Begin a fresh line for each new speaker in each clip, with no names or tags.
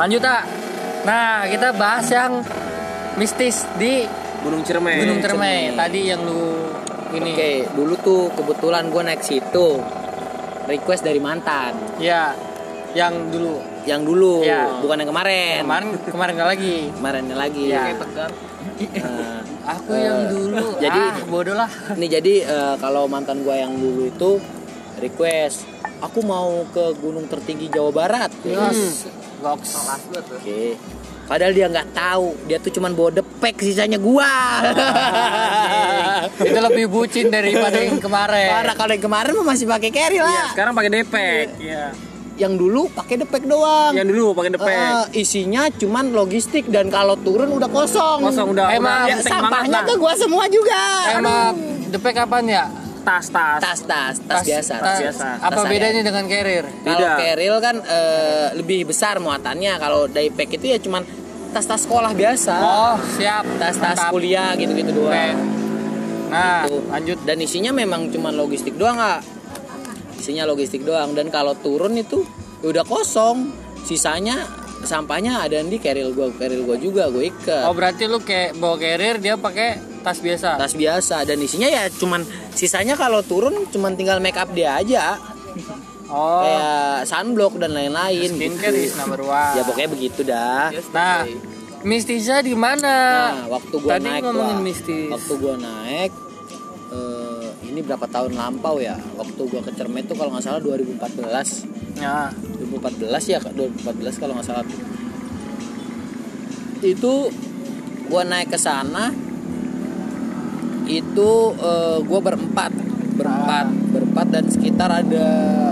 Lanjut tak. Nah kita bahas yang mistis di
Gunung Ciremai.
Gunung Cermai. Tadi yang lu ini.
Oke, dulu tuh kebetulan gue naik situ request dari mantan
Ya. Yang dulu.
yang dulu,
Iya.
bukan yang kemarin.
Kemarin kemarin nggak lagi.
Kemarin lagi.
Iya.
Kayak tegar. Nah,
Aku
Eh,
yang dulu.
jadi-
ah, bodoh lah.
Nih jadi eh, kalau mantan gue yang dulu itu request, aku mau ke gunung tertinggi Jawa Barat. Hmm.
Yes. Goks.
Oke. Padahal dia nggak tahu, dia tuh cuman bawa depek sisanya gua.
Itu lebih bucin daripada yang kemarin.
Parah kalau yang kemarin mah masih pakai carry
Iya,
kan?
lah.
sekarang pakai depek. Iya.
Yang dulu pakai depek doang.
Yang dulu pakai depek.
Eh, isinya cuman logistik dan kalau turun udah kosong.
Kosong udah.
Emang
udah, tank banget
Sampahnya
lah.
ke gua semua juga.
Emang depek kapan ya?
tas-tas.
tas tas tas biasa.
tas-
biasa.
Apa
Tas saya.
bedanya dengan carrier?
Kalau
Beda.
keril kan eh, lebih besar muatannya. Kalau daypack itu ya cuman tas-tas sekolah biasa.
Oh, siap.
tas-tas
Mantap.
kuliah gitu-gitu doang.
Oke. Nah,
Tuh.
lanjut.
Dan isinya memang cuman logistik doang nggak? Isinya logistik doang. Dan kalau turun itu ya udah kosong. Sisanya sampahnya ada di keril gua, keril gua juga gue ikat.
Oh, berarti lu kayak bawa carrier dia pakai tas biasa.
tas biasa dan isinya ya cuman sisanya kalau turun cuman tinggal make up dia aja
Oh,
kayak sunblock dan lain-lain
skincare is
gitu.
number one.
ya pokoknya begitu dah
Nah, mistisnya di mana?
nah waktu gua
Tadi
naik
ngomongin
gua-
mistis.
waktu gua naik eh, ini berapa tahun lampau ya waktu gua ke Cermet tuh kalau nggak salah 2014
Nah,
2014 ya Kak? 2014 kalau nggak salah tuh. itu gua naik ke sana itu eh, gua berempat berempat berempat dan sekitar ada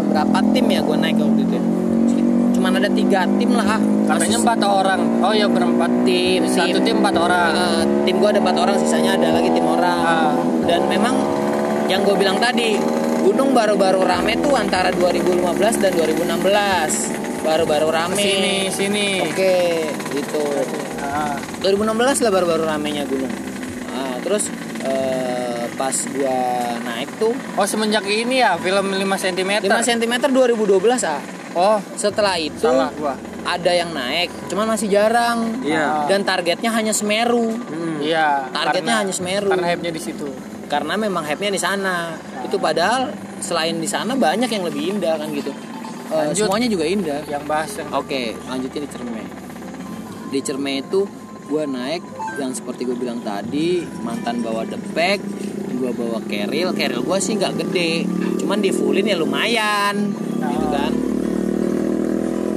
berapa tim ya gua naik waktu itu ya? cuman ada tiga tim lah ah.
katanya empat orang. Oh ya berempat tim. Satu tim empat orang.
Eh, tim gua ada empat orang sisanya ada lagi tim orang
Ah.
dan memang yang gue bilang tadi gunung baru-baru rame tuh antara 2015 dan 2016 baru-baru rame
Sini, sini.
Oke, gitu.
Nah,
2016 lah baru-baru ramenya gunung. Nah, terus eh, pas gua naik tuh
Oh semenjak ini ya film 5 cm.
5 cm 2012 ah.
Oh,
Setelah itu
salah gua.
ada yang naik, cuman masih jarang.
Iya.
Dan targetnya hanya Semeru.
Hmm.
Iya. karena-
Targetnya hanya Semeru.
Karena hype-nya di situ.
Karena memang hype-nya di sana. Itu padahal selain di sana banyak yang lebih indah kan gitu. Eh,
Lanjut.
semuanya juga indah.
Yang bahas yang
Oke, lanjutin di Cerme. Di Cerme itu gue naik yang seperti gue bilang tadi mantan bawa depek, gue bawa keril, keril gue sih nggak gede, cuman di fullin ya lumayan, gitu kan.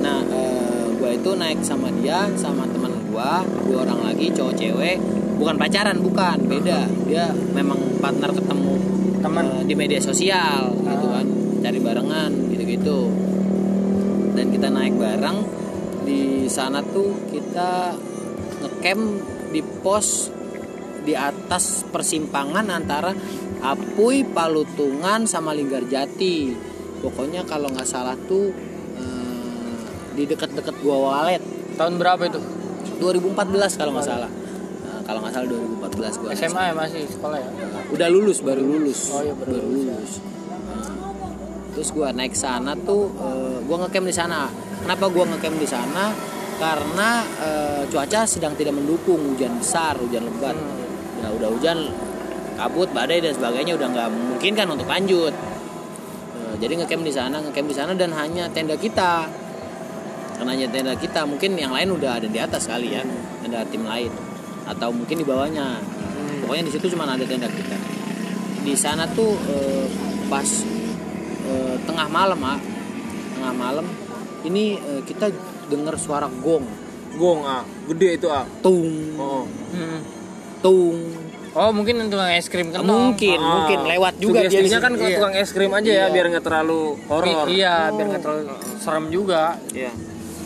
Nah, gue itu naik sama dia, sama teman gue, dua orang lagi cowok cewek, bukan pacaran, bukan, beda. Dia memang partner ketemu
Teman.
eh, di media sosial, gitu kan, cari barengan, gitu-gitu dan kita naik bareng di sana tuh kita ngecamp di pos di atas persimpangan antara Apuy, Palutungan sama Linggarjati. Pokoknya kalau nggak salah tuh eh, di deket-deket Gua Walet
tahun berapa itu?
2014 kalau nggak salah. Nah, kalau nggak salah 2014 gua naik
SMA ya masih sekolah ya.
udah lulus baru lulus
Oh, iya, baru lulus,
Nah, terus gua naik sana tuh eh, gua ngecamp di sana kenapa gua ngecamp di sana karena eh, cuaca sedang tidak mendukung hujan besar hujan lebat
Hmm.
ya udah hujan kabut badai dan sebagainya udah nggak memungkinkan untuk lanjut Eh, jadi ngecamp di sana ngecamp di sana dan hanya tenda kita karena hanya tenda kita mungkin yang lain udah ada di atas kali ya ada tim lain atau mungkin di bawahnya pokoknya di situ cuma ada tenda kita di sana tuh eh, pas eh, tengah malam ah tengah malam ini eh, kita dengar suara gong
Gong ah, gede itu ah.
tung
Oh.
Hmm.
tung
Oh mungkin yang tukang es krim kan
mungkin
Ah.
mungkin lewat juga dia di
Sugestinya kan
situ.
ke
Iya.
tukang es krim aja ya biar nggak terlalu horor.
Iya, biar nggak terlalu serem juga.
Iya.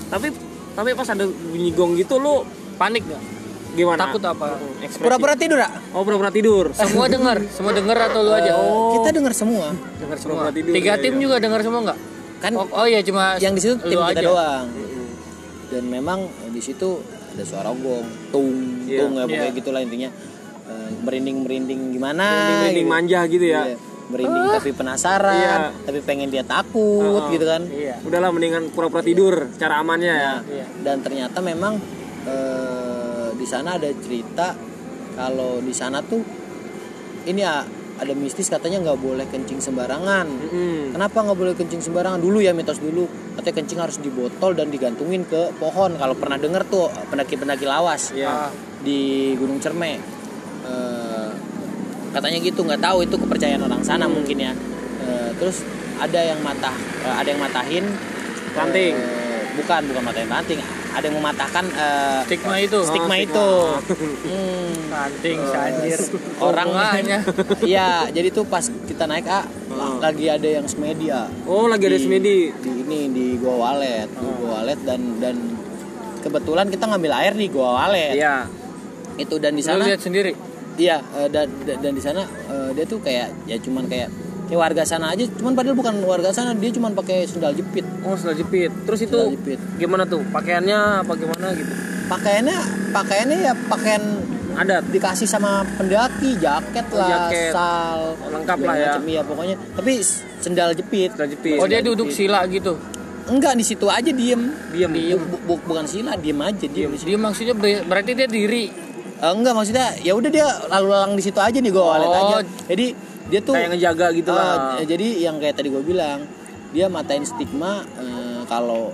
Tapi tapi pas ada bunyi gong gitu lu
Panik nggak?
gimana? Hmm,
Takut Eh, apa?
Ekspresi.
pura-pura tidur ah
Oh, pura-pura tidur.
Semua dengar, semua dengar atau lu aja?
kita dengar semua
dengar semua.
pura-pura Oh, tidur,
Tiga
iya,
tim
iya.
juga dengar semua nggak?
kan
oh, oh iya cuma
yang di situ tim
lu
kita
aja.
doang dan memang eh, di situ ada suara gong tung
Iya.
tung ya pokoknya
Iya.
gitulah intinya merinding merinding gimana
Merinding-merinding
gitu.
manja gitu ya.
Iya. merinding tapi penasaran
Iya. Ah,
tapi pengen dia takut
Heeh.
gitu kan
Iya.
Udahlah mendingan pura-pura tidur cara amannya ya.
Nah, dan ternyata memang eh, di sana ada cerita kalau di sana tuh ini ya ada mistis katanya nggak boleh kencing sembarangan
Mm-mm.
Kenapa nggak boleh kencing sembarangan dulu ya mitos dulu? Katanya kencing harus di botol dan digantungin ke pohon. Kalau pernah denger tuh pendaki-pendaki lawas
Iya.
di Gunung Cerme, Eh, katanya gitu nggak tahu itu kepercayaan orang sana mungkin ya. Eh, terus ada yang matah, eh, ada yang matahin.
Ranting.
Eh, bukan bukan matahin ranting. Ada yang mematahkan eh,
Stigma itu.
stigma
stigma.
itu. Hmm.
Ranting si anjir.
Orang-
Hubungannya.
Iya, jadi tuh pas kita naik A, lagi ada yang semedi A
Hmm. Oh lagi ada Hmm. semedi.
di ini di gua walet di gua walet dan dan kebetulan kita ngambil air di gua walet
Iya.
itu dan di
Lu
sana
lihat sendiri.
iya eh, dan dan dan di sana eh, dia tuh kayak ya cuman kayak kayak warga sana aja cuman padahal bukan warga sana dia cuman pakai sendal jepit
Oh sudah jepit. Terus itu
sendal jepit
gimana tuh pakaiannya apa gimana gitu?
pakaiannya pakaiannya ya pakaian
Adat.
dikasih sama pendaki jaket
Oh,
lah
jaket.
sal
Lengkap
segala
lah ya.
macam, iya pokoknya tapi sendal jepit
Sudah jepit.
Oh dia duduk sila gitu.
enggak di situ aja diem
diam.
Bu- bu- bukan sila diem aja diem di situ.
Dia maksudnya ber- berarti dia diri.
Eh, enggak maksudnya ya udah dia lalu lalang di situ aja nih gue walet
Oh.
aja jadi dia tuh
Kayak ngejaga gitu
eh,
Ah.
lah.
eh, jadi yang kayak tadi gue bilang dia matain stigma eh, kalau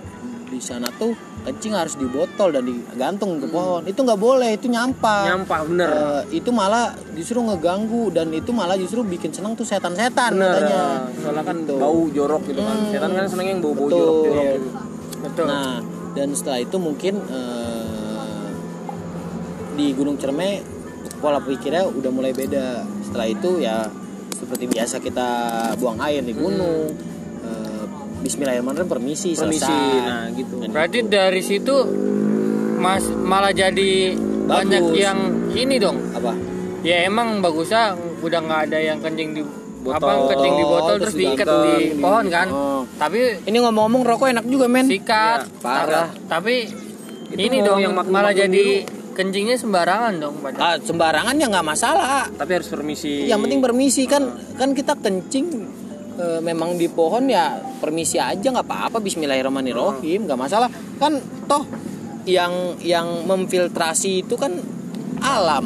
di sana tuh kencing harus di botol dan digantung ke pohon itu nggak boleh itu nyampah
Hmm. Nyampah bener.
Eh, itu malah justru ngeganggu dan itu malah justru bikin seneng tuh setan-setan
bener.
katanya
eh, Soalnya kan
Gitu.
bau jorok gitu kan.
Hmm.
Setan kan seneng yang bau bau
Betul.
jorok jorok.
Iya.
gitu.
Betul.
Nah, dan setelah itu mungkin eh, di Gunung Cerme pola pikirnya udah mulai beda. Setelah itu ya seperti biasa kita buang air di gunung. Eh, Bismillahirrahmanirrahim permisi,
Hmm. Permisi.
selesai.
Nah gitu.
Dan
Berarti dari situ mas malah jadi banyak yang ini dong.
apa?
Ya emang bagusnya udah nggak ada yang kencing di
Botol.
apa kencing di botol terus,
Terus
diikat
digantung,
di
gini.
pohon kan.
Oh.
Tapi
Ini ngomong-ngomong rokok enak juga men.
sikat.
Ya, parah.
Tapi
Itu
ini
mau
dong
yang maklum-
malah
maklum
jadi kencingnya sembarangan dong padahal.
Ah, sembarangan ya nggak masalah.
Tapi harus permisi.
Yang penting permisi kan kan kita kencing eh, memang di pohon ya permisi aja nggak apa-apa Bismillahirrahmanirrahim nggak masalah kan toh yang yang memfiltrasi itu kan alam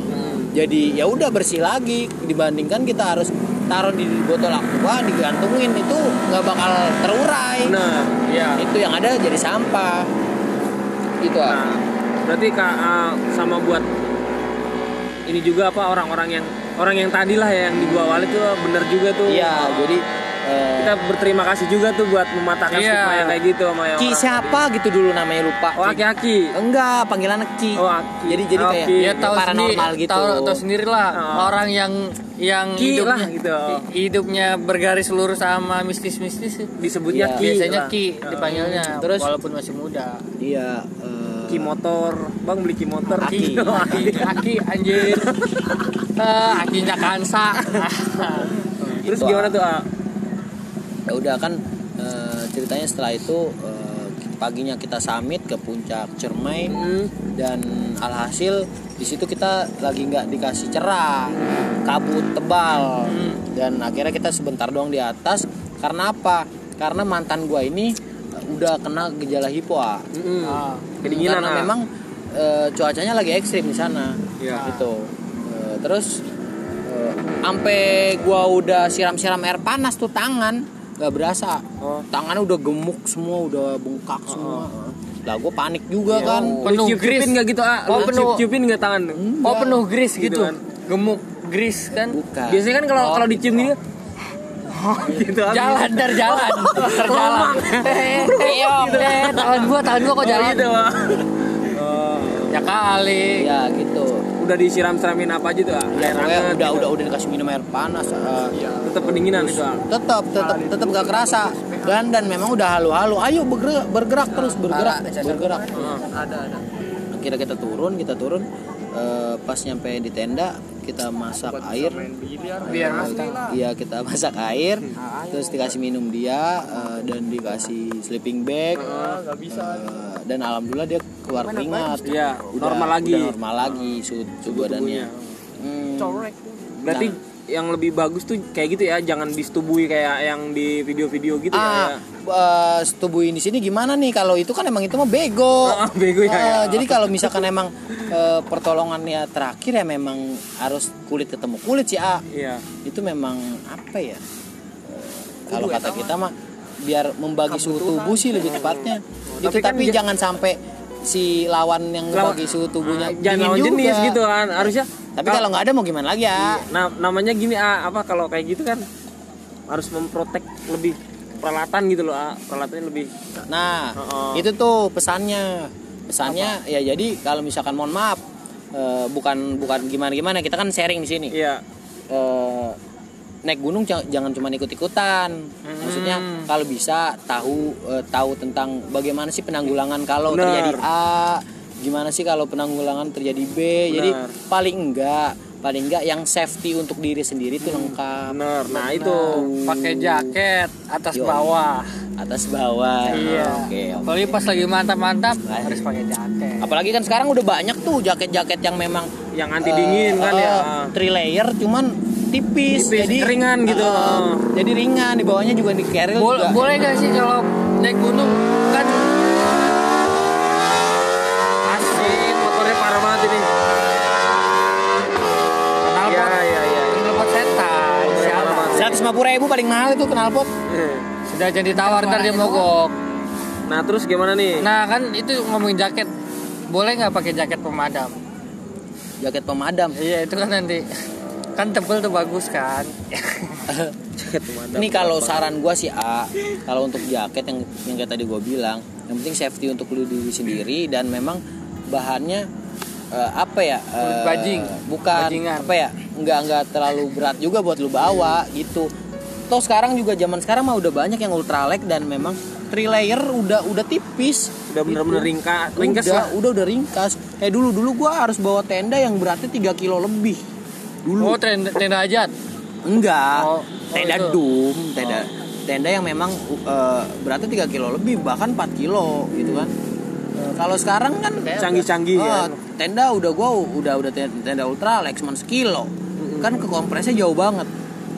jadi ya udah bersih lagi dibandingkan kita harus taruh di botol aqua digantungin itu nggak bakal terurai
Bener.
Iya.
itu yang ada jadi sampah gitu ah.
Nah, berarti Kak, eh, sama buat ini juga apa orang-orang yang orang yang tadi lah ya, yang di gua awal itu bener juga tuh.
iya jadi eh,
Kita berterima kasih juga tuh buat mematahkan
Iya.
stigma yang kayak gitu sama yang
Ki
orang.
siapa gitu dulu namanya lupa
Oh, aki-aki.
Enggak, panggilan Ki.
Oh, Aki.
Jadi jadi
Oh,
kayak
Ki.
Ya
kayak
tahu sendiri,
paranormal gitu.
tahu, tahu sendiri lah
Oh.
orang yang yang
Ki
hidupnya
lah gitu.
hi- hidupnya bergaris lurus sama mistis-mistis
Disebutnya
Iya.
Ki.
biasanya
lah. Ah.
ki dipanggilnya
Terus?
walaupun masih muda
Iya, eh,
Ki motor. Bang beli Ki motor.
Aki.
Ki.
aki aki anjir Eh, akinya kansa
Terus
Itu,
gimana tuh, A?
ya udah kan eh, ceritanya setelah itu eh, paginya kita summit ke puncak Cermai
Hmm.
dan alhasil di situ kita lagi nggak dikasih cerah, kabut tebal
Hmm.
dan akhirnya kita sebentar doang di atas karena apa? Karena mantan gua ini eh, udah kena gejala hipo. Ah.
Mm-mm.
Ah.
Kedinginan,
karena
A.
memang eh, cuacanya lagi ekstrim di sana
Iya.
gitu Eh, terus sampai gua udah siram-siram air panas tuh tangan nggak berasa
Oh.
tangannya udah gemuk semua udah bengkak semua lah gua panik juga kan
Lu
Penuh
ciup-ciupin
gris.
nggak gitu, A?
Oh,
Lu
penuh.
ciup-ciupin nggak tangan?
Hmm.
oh penuh gris
Gitu
gitu,
kan.
gemuk gris kan
bukan
Biasanya kan kalau kalau
Oh,
dicium gini gitu A.
jalan dar jalan dar jalan eh keok, eh tangan gua tangan gua kok
Oh,
jalan
gitu, A.
ya kali
ya gitu
udah disiram-siramin apa aja tuh A?
ya,
air
pokoknya
hangat
udah udah udah dikasih minum air panas eh,
tetap pendinginan itu A.
tetap tetap tetap gak kerasa dan dan memang udah halu-halu ayo bergerak bergerak
Nah,
terus bergerak bergerak
Hmm,
ada ada
akhirnya kita turun kita turun Eh, pas nyampe di tenda kita masak air
biar
iya kita masak air
Hmm.
terus dikasih minum dia eh, dan dikasih sleeping bag
Ah,
Eh, dan alhamdulillah dia keluar keringat
Iya,
Udah-
normal lagi. Ah.
udah normal lagi suhu, suhu badannya Hmm.
Berarti yang lebih bagus tuh kayak gitu ya jangan disetubui kayak yang di video-video gitu
ah
ya
eh, setubuhin di sini gimana nih kalau itu kan emang itu mah bego
Ah, bego ya,
Ah,
ya.
jadi kalau misalkan emang eh, pertolongannya terakhir ya memang harus kulit ketemu kulit sih ah
iya
itu memang apa ya Eh, kalau kata kita mah biar membagi suhu tubuh sih lebih tepatnya Itu,
tapi
tapi,
kan ja-
jangan sampai si lawan yang
Lawan- Ah,
membagi suhu tubuhnya
jangan
Nah, dingin
lawan
juga.
jenis gitu kan harusnya
tapi kalau nggak ada mau gimana lagi ya
nah, namanya gini ah apa kalau kayak gitu kan harus memprotek lebih peralatan gitu loh ah peralatannya lebih
Nah,
Heeh.
itu tuh pesannya. Pesannya ya jadi kalau misalkan mohon maaf eh, bukan bukan gimana-gimana, kita kan sharing di sini.
iya
Eh, naik gunung ja- jangan cuma ikut-ikutan.
Hmm.
Maksudnya kalau bisa tahu eh, tahu tentang bagaimana sih penanggulangan kalau
Benar.
terjadi A, gimana sih kalau penanggulangan terjadi B. Jadi
Benar.
paling enggak paling enggak yang safety untuk diri sendiri tuh lengkap.
bener nah itu
pakai jaket atas
Iya,
Yoi.
bawah
Atas bawah.
iya
Oke, oke.
apalagi pas lagi mantap-mantap
Iya.
Nah.
harus pakai jaket
Apalagi kan sekarang udah banyak tuh jaket-jaket yang memang
yang anti dingin kan ya
eh, three layer cuman tipis,
Tipis,
jadi
ringan gitu.
eh, jadi ringan di bawahnya juga di
Iya,
carrier
Bol-
juga.
boleh gak sih kalau naik gunung kan
asik motornya parah banget ini iya
knalpot
iya iya
knalpot setan siapa
150 ribu paling mahal itu knalpot
sudah jadi tawar ntar
Iya.
dia mogok
nah terus gimana nih
nah kan itu ngomongin jaket boleh nggak pakai jaket pemadam
jaket pemadam
iya itu kan nanti kan tebel tuh bagus kan
jaket pemadam
ini kalau saran gua sih A kalau untuk jaket yang yang kayak tadi gua bilang yang penting safety untuk lu diri sendiri dan memang bahannya eh, apa ya eh,
Kulit bajing.
bukan
Bajingan.
apa ya nggak nggak terlalu berat juga buat lu bawa gitu toh sekarang juga zaman sekarang mah udah banyak yang ultralight dan memang three layer udah udah tipis
udah bener-bener ringkas ringkas
udah,
lah
udah udah ringkas kayak dulu dulu gua harus bawa tenda yang beratnya 3 kilo lebih
oh tenda, tenda hajat
enggak
Oh, oh
tenda
itu. Oh.
dum tenda tenda yang memang uh, beratnya 3 kilo lebih bahkan 4 kilo gitu kan
Hmm.
Uh, kalau sekarang kan
Canggih-canggih
Ah,
kan.
tenda udah gua udah udah tenda, tenda ultra Lex cuma sekilo
Hmm.
kan ke kompresnya jauh banget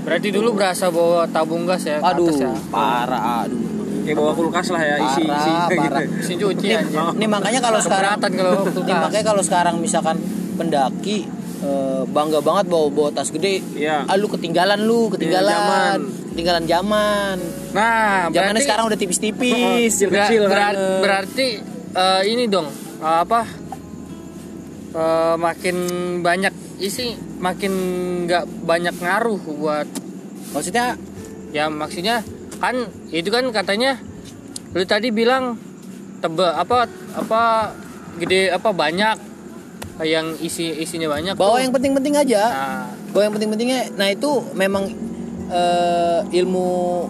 berarti dulu berasa bawa tabung gas ya ke
aduh
atas ya
parah aduh
kayak bawa kulkas lah ya isi isi
parah parah
gitu
mesin cuci
Nih,
anjir
nih makanya kalau sekarang
Keberatan kalau waktu
nih
tas.
makanya kalau sekarang misalkan pendaki eh, bangga banget bawa bawa tas gede.
Iya.
Ah, lu ketinggalan lu, ketinggalan.
Iya, zaman.
Ketinggalan zaman.
nah
Zamannya
berarti
sekarang udah tipis-tipis.
Ber-
kecil kan.
berat- berarti eh, ini dong eh, apa eh, makin banyak isi makin nggak banyak ngaruh buat
Maksudnya
ya maksudnya kan itu kan katanya lu tadi bilang tebel apa apa gede apa banyak eh, yang isi isinya banyak
bawa
tuh.
yang penting-penting aja.
nah,
Bawa yang penting-pentingnya. Nah, itu memang eh, ilmu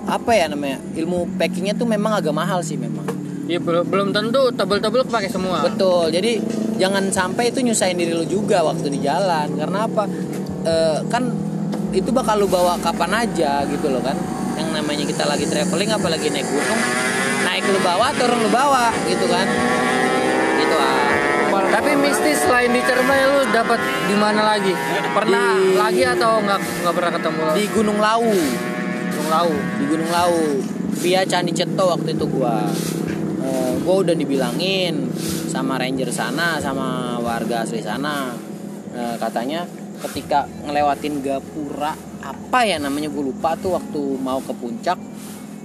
apa ya namanya? Ilmu packingnya tuh memang agak mahal sih memang.
ya belum belum tentu tebel-tebel pakai semua
Betul. Jadi jangan sampai itu nyusahin diri lu juga waktu di jalan. Karena apa? E, kan itu bakal lu bawa kapan aja gitu loh kan. Yang namanya kita lagi traveling apalagi naik gunung, naik lu bawa, turun lu bawa gitu kan. Gitu ah.
Tapi mistis selain di Cermai lu dapat di mana lagi? Pernah
Di-
lagi atau nggak nggak pernah ketemu
Di
di
Gunung Lawu,
Gunung Lau?
di Gunung Lawu. Via Candi Ceto waktu itu gua. E, gua udah dibilangin sama ranger sana sama warga asli sana. E, katanya ketika ngelewatin gapura apa ya namanya gue lupa tuh waktu mau ke puncak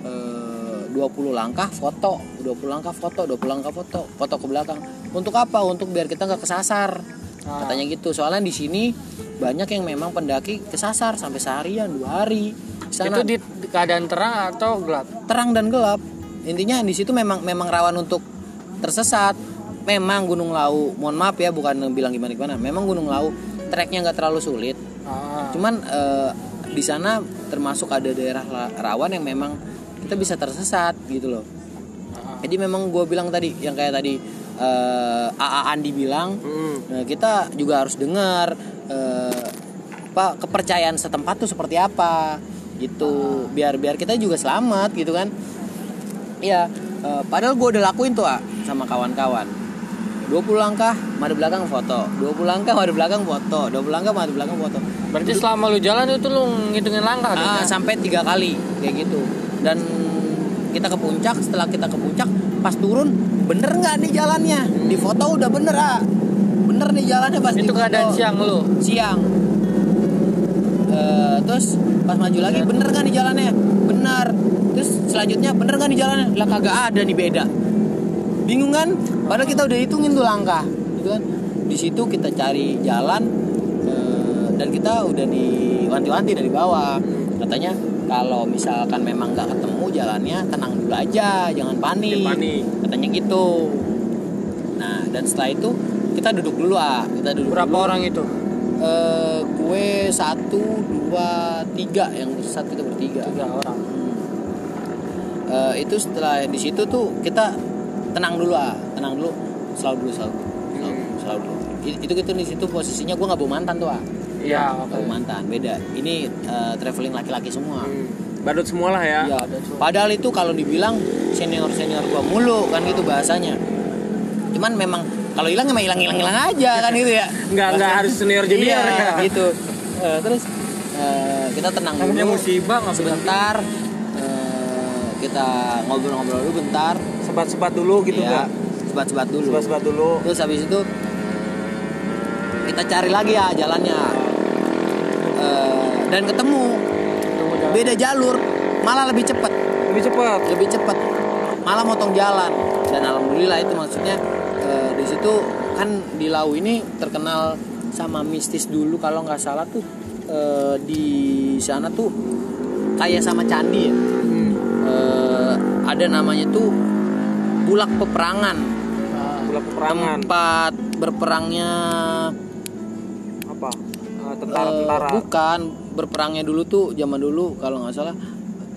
eh, 20 langkah foto 20 langkah foto 20 langkah foto foto ke belakang untuk apa untuk biar kita nggak kesasar
Ah.
katanya gitu soalnya di sini banyak yang memang pendaki kesasar sampai seharian dua hari Di sana
Itu di di keadaan terang atau gelap?
terang dan gelap. Intinya di situ memang memang rawan untuk tersesat. Memang Gunung Lau, mohon maaf ya bukan bilang gimana gimana. Memang Gunung Lau treknya nggak terlalu sulit.
Ah.
Cuman eh, di sana termasuk ada daerah la- rawan yang memang kita bisa tersesat gitu loh. Jadi memang gue bilang tadi yang kayak tadi eh AA Andi bilang
Hmm.
Nah, kita juga harus dengar eh, apa kepercayaan setempat tuh seperti apa gitu biar biar kita juga selamat Iya, gitu kan ya eh, padahal gue udah lakuin tuh ah, sama kawan-kawan 20 langkah mari belakang foto 20 langkah mari belakang foto 20 langkah mari belakang foto
Berarti selama lu jalan itu lu ngitungin langkah dong,
Ah,
ya?
sampai tiga kali kayak gitu dan kita ke puncak setelah kita ke puncak pas turun bener nggak nih jalannya di foto udah bener ah bener nih jalannya pas
Itu
difoto.
keadaan siang lu.
siang Eh, terus pas maju lagi bener kan di jalannya benar terus selanjutnya bener kan di jalannya lah kagak ada nih beda bingung kan padahal kita udah hitungin tuh langkah gitu kan di situ kita cari jalan eh, dan kita udah diwanti-wanti dari bawah katanya kalau misalkan memang nggak ketemu jalannya tenang dulu aja jangan panik,
Jangan panik.
katanya gitu nah dan setelah itu kita duduk dulu ah kita duduk
Berapa
dulu.
orang itu?
Eh, gue satu dua tiga yang satu itu bertiga
Tiga orang.
Eh, itu setelah di situ tuh kita tenang dulu ah tenang dulu selalu dulu selalu selalu, selalu dulu I- itu gitu di situ posisinya gue nggak bawa mantan tuh ah
Iya,
nggak bawa mantan beda ini eh, traveling laki-laki semua
badut semualah ya
Iya. Padahal itu kalau dibilang senior senior gua mulu kan gitu bahasanya. Cuman memang kalau hilang emang hilang hilang hilang aja kan gitu ya.
Nggak- nggak
Bahasanya.
harus senior junior
Iya,
ya.
gitu. Eh, terus eh, kita tenang
namanya
dulu.
musibah nggak bisa
Sebentar eh, kita ngobrol-ngobrol dulu bentar.
sebat-sebat dulu gitu
ya,
ya
sebat-sebat dulu.
sebat-sebat dulu
Terus habis itu kita cari lagi ya jalannya. Eh, dan ketemu
Tunggu jalan.
beda jalur malah lebih cepet
lebih cepat
lebih cepat malah motong jalan dan alhamdulillah itu maksudnya eh, di situ kan di Lau ini terkenal sama mistis dulu kalau nggak salah tuh eh, di sana tuh kayak sama candi ya Eh, ada namanya tuh bulak peperangan
pulang peperangan
tempat berperangnya
apa Eh,
eh,
tentara-tentara
bukan berperangnya dulu tuh zaman dulu kalau nggak salah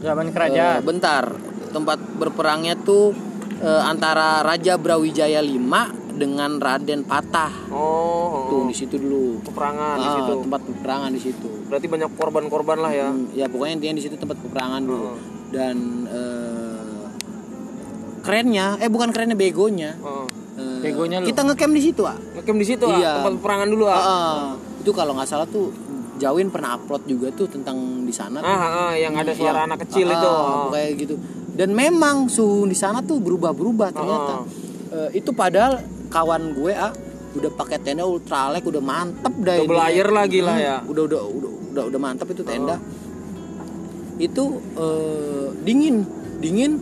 Zaman kerajaan.
Eh, bentar, tempat berperangnya tuh eh, antara Raja Brawijaya 5 dengan Raden Patah.
oh,
Tuh
oh.
di situ dulu.
peperangan di
Ah,
situ
tempat peperangan di situ.
berarti banyak korban-korban lah ya
Hmm, Ya pokoknya intinya di situ tempat peperangan dulu.
Oh.
Dan eh, kerennya, eh bukan kerennya begonya.
Heeh.
Eh,
Begonya lu.
Kita ngecamp di situ, ah.
Ngecamp di situ
Iya.
ah, tempat peperangan dulu ah.
Ah, itu kalau nggak salah tuh Jawin pernah upload juga tuh tentang di sana
Ah, ah, ah, yang ada
Iya.
suara anak kecil
Ah,
itu. Eh.
kayak gitu dan memang suhu di sana tuh berubah-berubah ternyata
Ah.
Eh, itu padahal kawan gue ah udah pakai tenda ultralek udah mantep dah
Double
ini.
layer lagi lah ya. Ah,
udah udah udah udah, udah mantep itu tenda itu eh, dingin dingin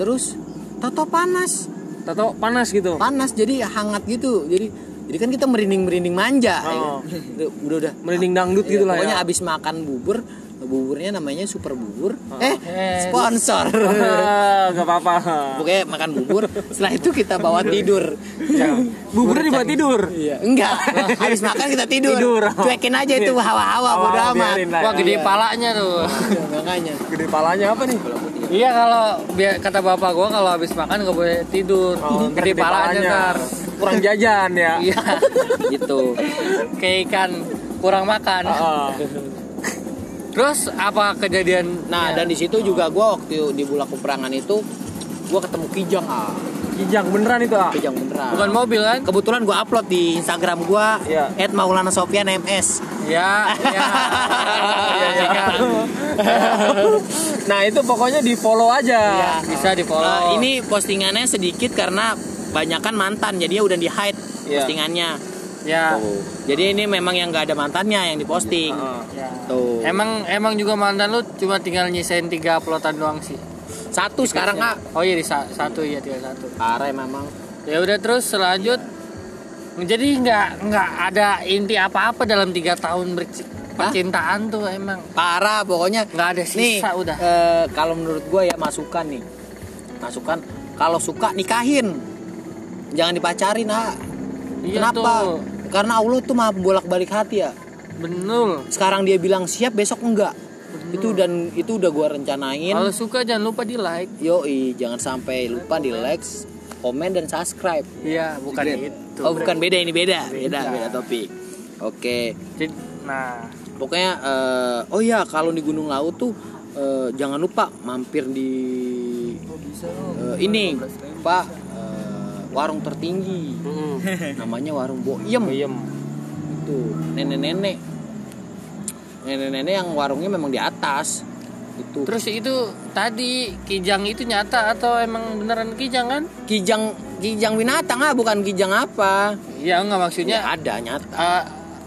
terus tato panas
Tato panas gitu.
panas jadi hangat gitu jadi jadi kan kita merinding merinding manja ya
Oh.
kan? udah udah, udah.
Merinding dangdut gitu lah
Iya, pokoknya
ya.
abis makan bubur buburnya namanya super bubur
Eh,
eh sponsor
Ah, Gak apa-apa.
pokoknya makan bubur setelah itu kita bawa tidur
Buburnya Ya. dibuat tidur.
iya enggak habis makan kita tidur,
Tidur.
cuekin aja itu hawa-hawa
Hawa-hawa,
bodo amat
biarin lah.
Wah, gede
Iya.
palanya tuh.
Iya, makanya
Gede palanya apa nih? Oh,
iya, kalau biar kata bapak gua kalau habis makan nggak boleh tidur.
Oh, ntar
gede, palanya ntar.
Kurang jajan ya.
Iya.
gitu
Kayak ikan kurang makan.
Ah, ah.
Terus apa kejadian?
nah dan di situ juga gue waktu di bulak peperangan itu gue ketemu kijang ah
Kijang beneran itu ah.
kijang beneran
bukan mobil kan?
kebetulan gue upload di Instagram gue
Iya.
at Maulana Sofian MS
Ya, ya. Iya, iya, kan.
Nah itu pokoknya di follow aja.
Bisa di follow.
Eh, ini postingannya sedikit karena banyakan mantan jadinya udah di hide
Iya.
postingannya Oh.
ya.
jadi ini memang yang nggak ada mantannya yang diposting
Ah,
ya.
Iya, eh, tuh
Emang emang juga mantan lu cuma tinggal nyisain tiga uploadan doang sih.
satu sekarang nggak
Oh iya di sa- satu ya tiga satu.
parah memang
Ya udah terus selanjut jadi nggak nggak ada inti apa-apa dalam tiga tahun berci-
Hah?
percintaan tuh emang
parah pokoknya
nggak ada
nih
sisa udah.
eh, kalau menurut gue ya masukan nih masukan kalau suka nikahin jangan dipacarin ah
Iya
kenapa
tuh.
karena Allah tuh mah bolak balik hati ya
Bener.
sekarang dia bilang siap besok enggak itu dan itu udah gua rencanain
Kalau suka jangan lupa di like.
yoi jangan sampai lupa di like komen dan subscribe
Iya bukan
Jadi-
itu.
oh bukan beda ini beda beda beda topik oke
Jadi- nah
pokoknya eh, oh ya kalau di Gunung Laut tuh eh, jangan lupa mampir di eh, ini Pak eh, warung tertinggi namanya warung Boyem
Bayem.
itu nenek-nenek nenek-nenek yang warungnya memang di atas itu
Terus itu tadi Kijang itu nyata atau emang beneran Kijang kan?
kijang kijang binatang ah bukan kijang apa
Ya enggak maksudnya
ya, ada nyata
eh,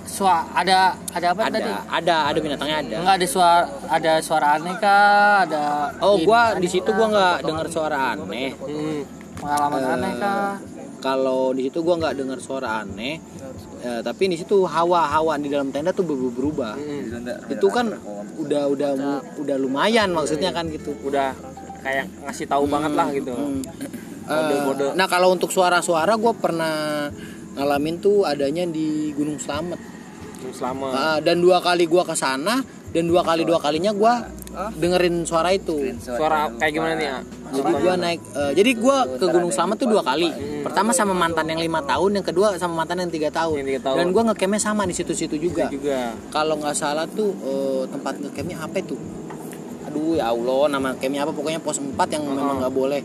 sua- ada ada apa
ada
tadi?
ada ada binatangnya ada
Enggak ada suara ada suara aneh kah? Ada
oh gua
ini
di
aneh
situ
kah?
gua Eh. nggak dengar suara aneh
Hmm, pengalaman aneh kah?
kalau di situ gua nggak dengar suara aneh eh, tapi di situ hawa-hawa di dalam tenda tuh berubah-berubah
Iya.
itu kan udah udah mu- udah lumayan maksudnya kan gitu
udah kayak ngasih tahu banget lah gitu
Hmm. Eh,
Kode-kode.
nah kalau untuk suara-suara gue pernah ngalamin tuh adanya di Gunung Slamet
selama
Ah, dan dua kali gue ke sana dan dua kali dua kalinya gue dengerin suara itu
suara kayak gimana nih ya
jadi gue naik eh, jadi gue ke Gunung Slamet tuh dua kali pertama sama mantan yang lima tahun yang kedua sama mantan yang tiga tahun
Yang tiga tahun.
dan gue ngecampnya sama di situ-situ juga
juga
kalau nggak salah tuh eh, tempat ngecampnya apa itu aduh ya allah nama campnya apa pokoknya pos 4 yang memang nggak boleh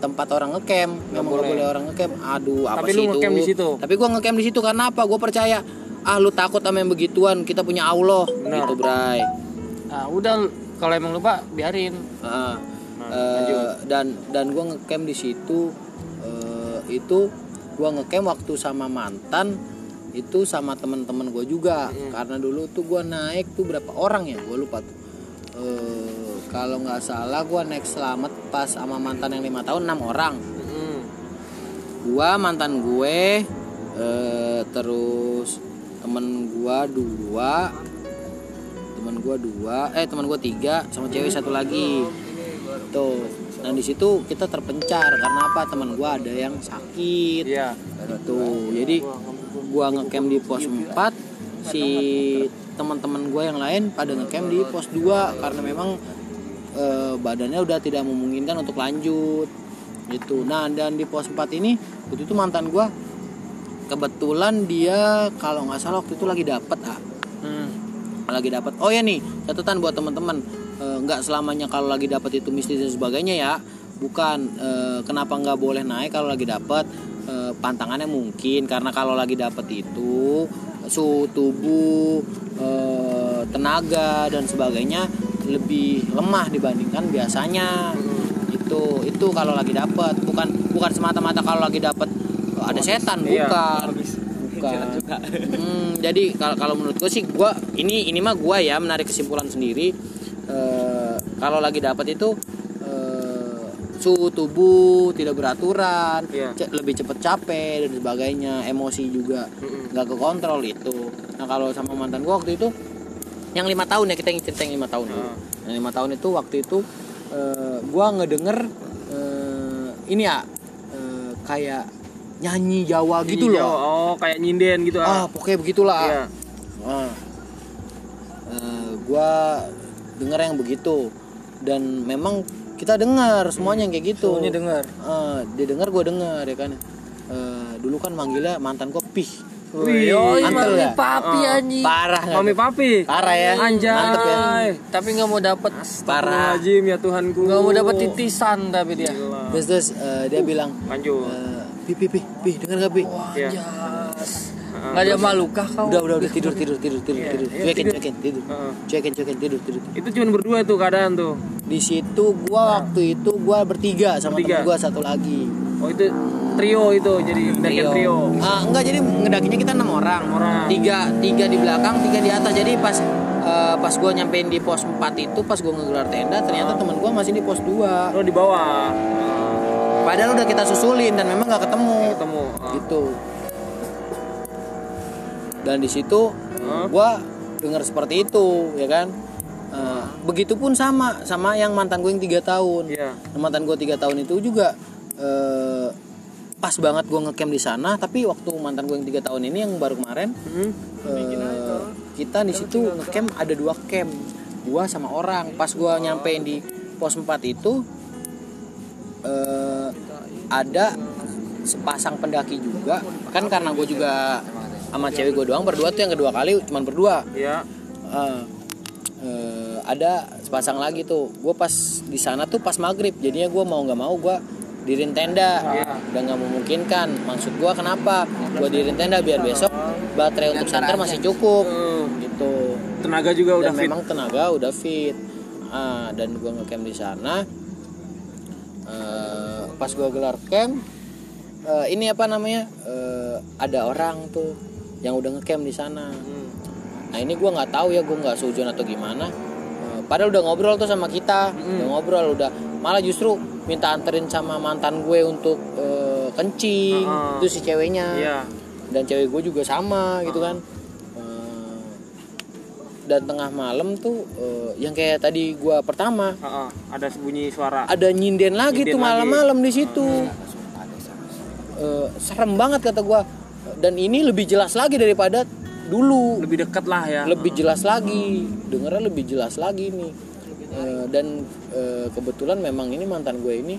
tempat orang ngecamp memang nggak
Uh-huh. boleh.
boleh orang ngecamp aduh apa
Tapi
sih
lu
itu
ngecamp di situ?
tapi gua ngecamp di situ karena apa gua percaya ah lu takut sama yang begituan kita punya allah
Benar.
gitu bray
Nah, udah kalau emang lupa biarin.
Ah, eh, dan dan gua ngecamp di situ eh, itu gua ngecamp waktu sama mantan itu sama teman-teman gue juga karena dulu tuh gua naik tuh berapa orang ya gue lupa tuh Eh, kalau nggak salah gua naik selamat pas sama mantan yang lima tahun enam orang gua mantan gue eh, terus temen gua dua temen gua dua eh temen gua tiga sama cewek satu lagi tuh nah di situ kita terpencar karena apa teman gua ada yang sakit
iya
gitu jadi gua ngecamp di pos 4 si teman-teman gua yang lain pada ngecamp di pos 2 karena memang eh, badannya udah tidak memungkinkan untuk lanjut gitu nah dan di pos 4 ini waktu itu mantan gua kebetulan dia kalau nggak salah waktu itu lagi dapet ah
Hmm.
lagi dapat oh ya nih catatan buat teman-teman Eh, nggak selamanya kalau lagi dapat itu mistis dan sebagainya ya bukan eh, kenapa nggak boleh naik kalau lagi dapat Eh, pantangannya mungkin karena kalau lagi dapat itu suhu tubuh eh, tenaga dan sebagainya lebih lemah dibandingkan biasanya itu itu kalau lagi dapat bukan bukan semata-mata kalau lagi dapat ada setan
Iya.
bukan bukan Hmm, jadi kalau kalau menurut gue sih gua ini ini mah gua ya menarik kesimpulan sendiri Eh, kalau lagi dapat itu eh, suhu tubuh tidak beraturan
Iya.
ce- lebih cepet capek dan sebagainya emosi juga nggak ke kontrol itu nah kalau sama mantan gua waktu itu yang lima tahun ya kita yang cerita yang lima tahun dulu. yang lima tahun itu waktu itu eh, gua ngedenger eh, ini ya eh, kayak nyanyi Jawa gitu loh
Ini jauh. oh kayak nyinden gitu
ah
ah
pokoknya begitulah ah.
iya
Ah. Eh, gua dengar yang begitu dan memang kita dengar semuanya yang kayak gitu
Semuanya dengar.
Eh, dia dengar gue dengar ya kan Eh, dulu kan manggilnya mantan gue pih
Wih, ya.
Yoi, mami
mantul ya?
papi anjing.
parah nggak
mami
tuh?
papi
parah ya
anjay
mantep ya
Tapi nggak mau dapet
parah
Astagfirullahaladzim, ya Tuhanku
nggak mau dapet titisan tapi dia.
Gila.
terus terus eh, dia bilang
lanjut
eh, pih pih pih pih dengar gak pih
Iya.
Jas. Nggak ada malukah kau?
udah udah udah tidur tidur tidur tidur tidur
iya,
cuekin
tidur. ah.
cuekin tidur
Heeh.
cuekin cuekin tidur tidur
itu cuma berdua tuh keadaan tuh
di situ gua waktu itu gua bertiga sama temen
Bertiga.
gua satu lagi
oh itu trio itu jadi dari trio
Ah, enggak jadi ngedakinya kita enam orang.
Enam orang.
Tiga tiga di belakang, tiga di atas. Jadi pas eh, pas gue nyampein di pos 4 itu, pas gue ngegelar tenda, ternyata
Ah.
teman gue masih di pos 2
lo di bawah Ah,
Padahal udah kita susulin dan memang nggak ketemu.
ketemu Ah.
Gitu. Dan di situ
Ah.
gue dengar seperti itu, ya kan? Eh, Begitupun sama sama yang mantan gue yang tiga tahun.
Iya.
Nah, mantan gue tiga tahun itu juga eh, pas banget gue ngecamp di sana tapi waktu mantan gue yang tiga tahun ini yang baru kemarin
Hmm.
eh, kita di situ ngecamp ada dua camp gua sama orang pas gua nyampein di pos 4 itu eh, ada sepasang pendaki juga kan karena gue juga sama cewek gue doang berdua tuh yang kedua kali cuman berdua
Iya.
Eh, eh, ada sepasang lagi tuh gue pas di sana tuh pas maghrib jadinya gue mau nggak mau gue dirin tenda
Ah.
udah nggak memungkinkan maksud gua kenapa gua dirin tenda
Ah.
biar besok baterai untuk santer masih cukup gitu
tenaga juga Hmm. udah
dan
fit
memang tenaga udah fit Ah, dan gua ngecamp di sana Eh, pas gua gelar camp eh, ini apa namanya Eh, ada orang tuh yang udah ngecamp di sana nah ini gua nggak tahu ya gua nggak seujun atau gimana Eh, padahal udah ngobrol tuh sama kita udah ngobrol udah malah justru minta anterin sama mantan gue untuk eh, kencing
Ah.
itu si ceweknya
iya
dan cewek gue juga sama gitu kan Eh, dan tengah malam tuh eh, yang kayak tadi gue pertama
Heeh, Ah, ada bunyi suara
ada nyinden lagi
Nyinden
tuh
lagi.
malam-malam di situ Eh, serem banget kata gue dan ini lebih jelas lagi daripada dulu
lebih dekat lah ya
lebih jelas lagi dengernya lebih jelas lagi nih Eh, dan eh, kebetulan memang ini mantan gue ini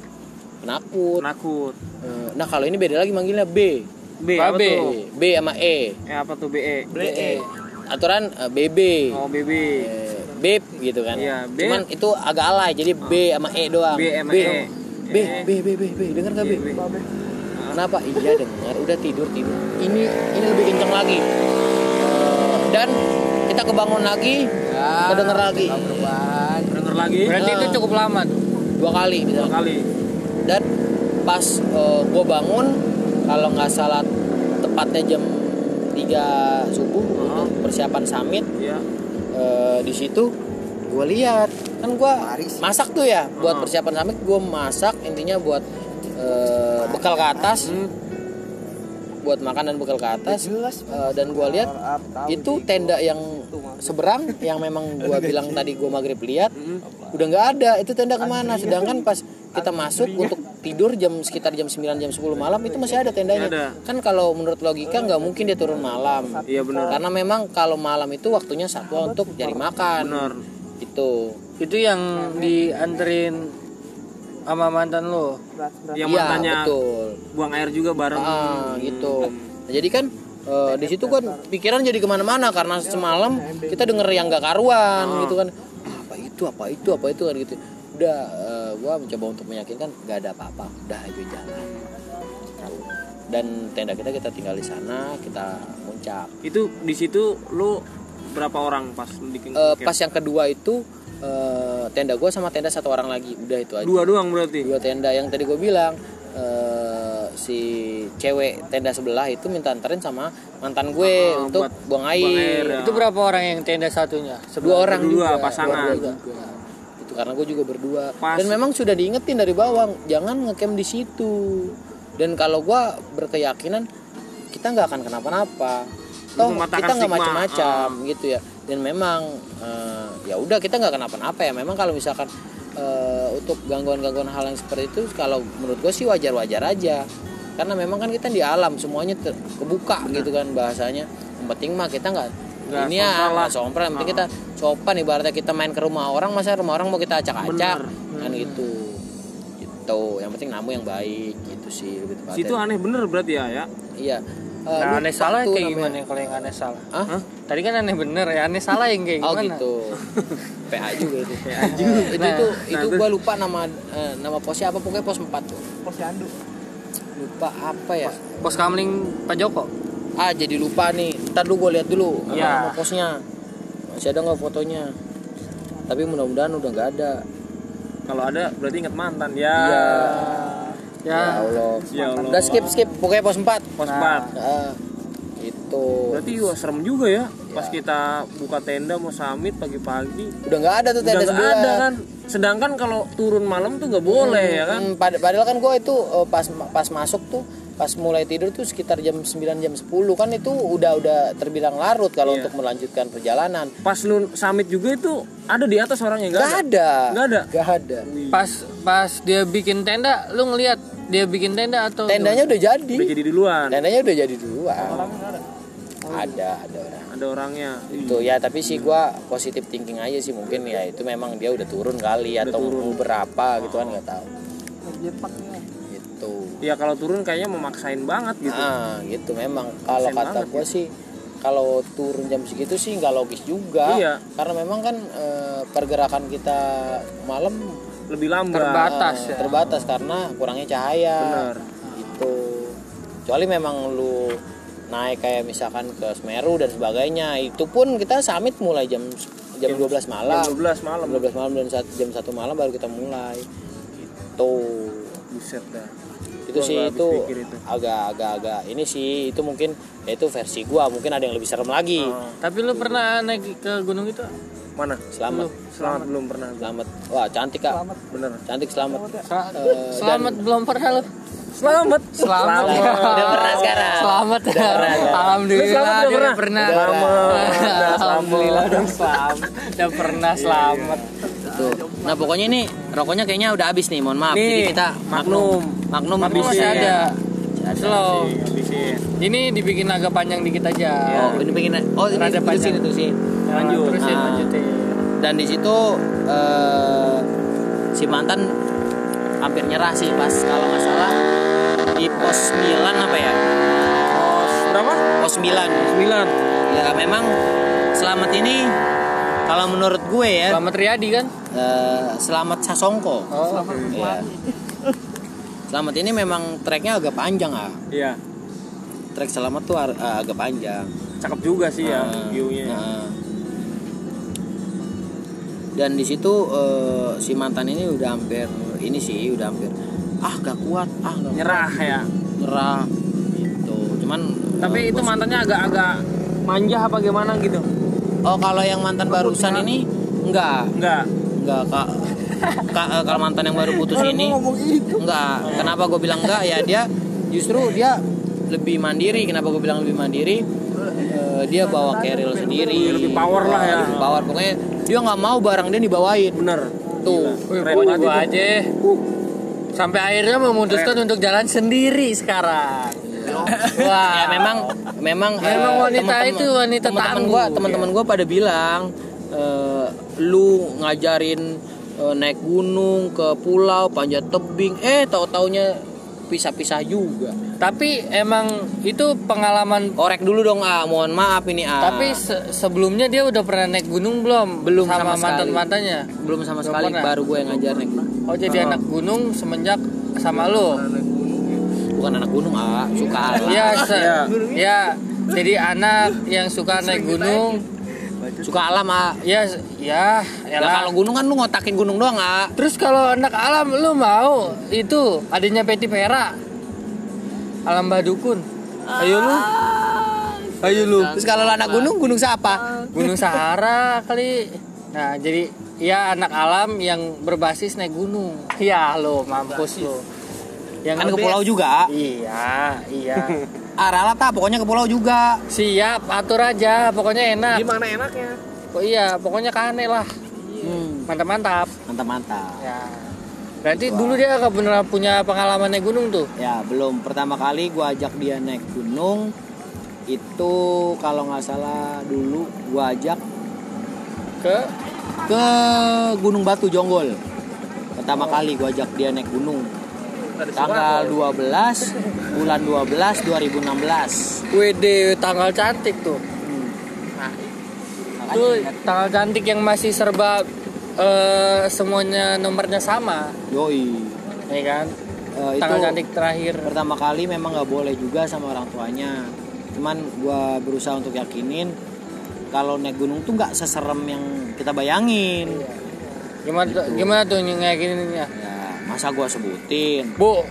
penakut
nakut
Eh, nah kalau ini beda lagi manggilnya B
B apa
Babe.
tuh
B sama E
eh apa tuh BE
BE. Aturan eh, BB.
oh BB
Eh, Beb gitu kan.
Iya, beb.
Cuman itu agak alay jadi B sama E doang.
B sama E.
B, B, B, B, B, dengar gak B?
B.
Kenapa? Iya dengar, udah tidur tidur. Ini ini lebih kenceng lagi. Eh, Dan kita kebangun lagi, kedenger lagi
denger lagi
Berarti itu
Ah.
cukup lama tuh.
dua kali
dua
misalnya.
kali
Dan pas eh, gua bangun, kalau nggak salah tepatnya jam 3 subuh
Ah.
untuk persiapan summit,
ya
Eh, di situ gue lihat kan gue masak tuh ya buat
Heeh.
persiapan summit gue masak intinya buat eh, bekal ke atas
Hmm,
buat makan dan bekal ke atas Eh, dan gue lihat itu tenda yang seberang yang memang gue bilang tadi gue maghrib lihat udah nggak ada itu tenda kemana sedangkan pas kita masuk untuk tidur jam sekitar jam 9 jam 10 malam itu masih ada tendanya
Ada.
kan kalau menurut logika nggak mungkin dia turun malam
iya benar
karena memang kalau malam itu waktunya satwa untuk cari makan Gitu.
benar
itu
Itu yang dianterin sama mantan lo.
yang
Iya,
mantannya
betul
buang air juga bareng
ah gitu Nah, jadi kan eh, di situ kan pikiran jadi kemana-mana karena semalam kita denger yang gak karuan gitu kan apa itu apa itu apa itu kan gitu udah eh, gua mencoba untuk meyakinkan gak ada apa-apa udah ayo jalan Gitu. dan tenda kita kita tinggal di sana kita muncak
itu di situ lu berapa orang pas lu di
Eh,
camp?
pas yang kedua itu eh, tenda gua sama tenda satu orang lagi udah itu aja
dua doang berarti
dua tenda yang tadi gue bilang eh, si cewek tenda sebelah itu minta anterin sama mantan gue
Ah,
untuk
buat
buang
buang
air,
air, ya.
Itu berapa orang yang tenda satunya?
dua orang
Berdua,
juga,
pasangan.
dua orang juga. itu karena gue juga berdua
Pas.
dan memang sudah diingetin dari bawah jangan ngecamp di situ dan kalau gue berkeyakinan kita nggak akan kenapa-napa toh kita
mematahkan
nggak
stigma.
macam-macam gitu ya dan memang eh, ya udah kita nggak kenapa-napa ya memang kalau misalkan eh, untuk gangguan-gangguan hal yang seperti itu kalau menurut gue sih wajar-wajar aja karena memang kan kita di alam semuanya ter- kebuka gitu kan bahasanya yang penting mah kita nggak
Nggak
ini ya
sompral lah.
nggak sompral yang penting kita sopan ibaratnya kita main ke rumah orang masa rumah orang mau kita acak-acak kan gitu gitu yang penting namu yang baik gitu sih lebih tepatnya.
situ aneh bener berarti ya ya
iya Eh,
Nah,
lupa
aneh salah
tuh
kayak
namanya.
gimana kalau yang aneh salah?
Hah?
Tadi kan aneh bener ya, aneh salah yang kayak
Oh
gimana?
gitu. PA juga itu. Eh, itu
Nah,
itu itu gua lupa nama eh, nama posnya apa pokoknya pos 4 tuh. Lupa apa ya?
Pos kamling Pak Joko.
Ah jadi lupa nih. Ntar dulu gua lihat dulu apa
Iya.
nama posnya. Masih ada nggak fotonya? Tapi mudah-mudahan udah nggak ada.
kalau ada berarti inget mantan ya
Iya. Ya
Ya,
Allah.
Ya Allah.
Udah skip skip pokoknya pos Ah, gitu. 4.
pos
Nah.
empat.
Heeh. itu.
berarti wah, serem juga ya pas
Iya.
kita buka tenda mau summit pagi-pagi
udah nggak ada tuh
udah
tenda
nggak
sebelah.
ada kan sedangkan kalau turun malam tuh nggak boleh ya kan
Hmm, pad- padahal kan gue itu eh, pas pas masuk tuh pas mulai tidur tuh sekitar jam 9 jam 10 kan itu udah udah terbilang larut kalau
Iya.
untuk melanjutkan perjalanan.
pas lu summit juga itu ada di atas orangnya nggak
Gak
ada
ada.
Nggak ada?
Nggak ada.
pas pas dia bikin tenda, lu ngelihat dia bikin tenda atau
Tendanya udah jadi.
udah jadi duluan
Tendanya udah jadi duluan. Ada ada orang.
ada orangnya
Itu ya tapi sih gua positif thinking aja sih mungkin ya itu memang dia udah turun kali atau mau berapa gitu kan nggak tahu.
Oh.
Gitu.
ya kalau turun kayaknya memaksain banget gitu
Ah, gitu memang kalau
Kasian
kata
banget gitu.
gue sih kalau turun jam segitu sih nggak logis juga
Iya.
karena memang kan eh, pergerakan kita malam
lebih lambat
Terbatas
Eh,
ya.
terbatas karena kurangnya cahaya
Benar.
gitu kecuali memang lu naik kayak misalkan ke Semeru dan sebagainya itu pun kita summit mulai jam jam 12 malam
Jam 12 malam
12 malam dan saat jam 1 malam baru kita mulai Gitu. tuh
buset dah
itu
Gua
sih
nggak habis
itu
pikir itu.
agak-agak ini sih itu mungkin ya itu versi gua mungkin ada yang lebih serem lagi
Oh,
Tapi lu pernah naik ke gunung itu?
mana
selamat
selamat belum pernah
selamat wah cantik kak
bener
cantik selamat
Sel-
Eh,
selamat belum pernah lu?
selamat
Selamat.
Udah pernah sekarang.
Selamat. ya?
Lu
Alhamdulillah
selamat udah
dia
pernah?
pernah.
Udah pernah. Udah,
Alhamdulillah udah selamat. Udah pernah selamat.
Tuh. Nah pokoknya ini rokoknya kayaknya udah habis nih, mohon maaf. Jadi
Nih,
kita
Magnum.
Magnum,
Tapi
habis. ya.
masih ada. Slow.
Habisin.
Ini dibikin agak panjang dikit aja.
Oh, ini pengen oh ini
Rada
terusin
panjang.
terusin.
Iya, Lanjut. Terusin
Nah.
ya, lanjutin.
Dan di situ eh, si mantan hampir nyerah sih pas kalau nggak salah di pos 9 apa ya?
Pos berapa?
Pos 9.
9.
Ya memang selamat ini kalau menurut gue ya
Selamat Riyadi kan?
eh, selamat Sasongko.
Oh.
Iya. Selamat ini memang treknya agak panjang ah.
Iya.
Trek selamat tuh ar- eh, agak panjang.
Cakep juga sih ya
Nah,
view-nya.
nah. Dan di situ eh, si mantan ini udah hampir ini sih udah hampir ah gak kuat ah gak
Nyerah ya.
nyerah gitu. Cuman
Tapi
eh,
itu
gua-
mantannya agak-agak manja apa gimana gitu.
oh kalau yang mantan barusan ini enggak
Enggak.
enggak kak Ka- eh, kalau mantan yang baru putus ini
gitu.
enggak kenapa gue bilang enggak ya dia justru dia lebih mandiri kenapa gue bilang lebih mandiri Eh, dia bawa keril sendiri
Lebih power lah ya.
Lebih power pokoknya dia nggak mau barang dia dibawain
Bener.
tuh
Wih,
Keren
gua
banget
juga aja. Sampai akhirnya memutuskan untuk jalan sendiri sekarang. Wah.
ya memang memang eh,
Memang wanita
temen-temen-
itu wanita
temen-temen
tangguh,
gua teman-teman gua pada bilang eh, lu ngajarin eh, naik gunung ke pulau panjat tebing eh tahu taunya pisah-pisah juga
Tapi emang itu pengalaman
korek dulu dong ah mohon maaf ini ah
Tapi se- sebelumnya dia udah pernah naik gunung belum?
Belum sama
sama,
sekali.
mantan-mantannya.
belum sama
Belum
sekali
pernah.
baru gue yang ngajar naik
Oh
Ah.
jadi anak gunung semenjak sama lu.
bukan anak gunung ah suka lah
Ya, se-
Iya.
ya. Jadi anak yang suka naik gunung,
suka alam ah
ya, se- ya,
Lah,
elah.
kalau gunung kan lu ngotakin gunung doang ah
Terus kalau anak alam lu mau itu adanya Peti Vera. Alam Badukun. Ayo lu. Ayo lu.
terus kalau lu anak gunung gunung siapa
Gunung Sahara kali. Nah, jadi ya anak alam yang berbasis naik gunung. Ya lo mampus lo. Yang
kan ke
lebih-
pulau juga ah.
Iya, iya.
ah ralat ah pokoknya ke pulau juga
Siap, atur aja. Pokoknya enak.
Gimana enaknya?
Oh, iya, pokoknya kane lah.
Hmm,
Mantap-mantap.
mantap-mantap.
Ya. Berarti dulu dia nggak beneran punya pengalaman naik gunung tuh.
Ya, belum pertama kali gua ajak dia naik gunung itu kalau nggak salah dulu gua ajak
Ke
ke Gunung Batu Jonggol. Pertama kali gua ajak dia naik gunung tanggal 12 bulan 12 2016.
WD tanggal cantik tuh.
Hmm.
Nah,
makanya
Tuh
ingat.
tanggal cantik yang masih serba eh, semuanya nomornya sama,
Yoi.
ya kan?
Eh, itu
Tanggal cantik terakhir.
pertama kali memang nggak boleh juga sama orang tuanya cuman gua berusaha untuk yakinin kalau naik gunung tuh nggak seserem yang kita bayangin
Gimana tuh, gimana tuh ngeyakininnya?
ya masa gua sebutin
Bu,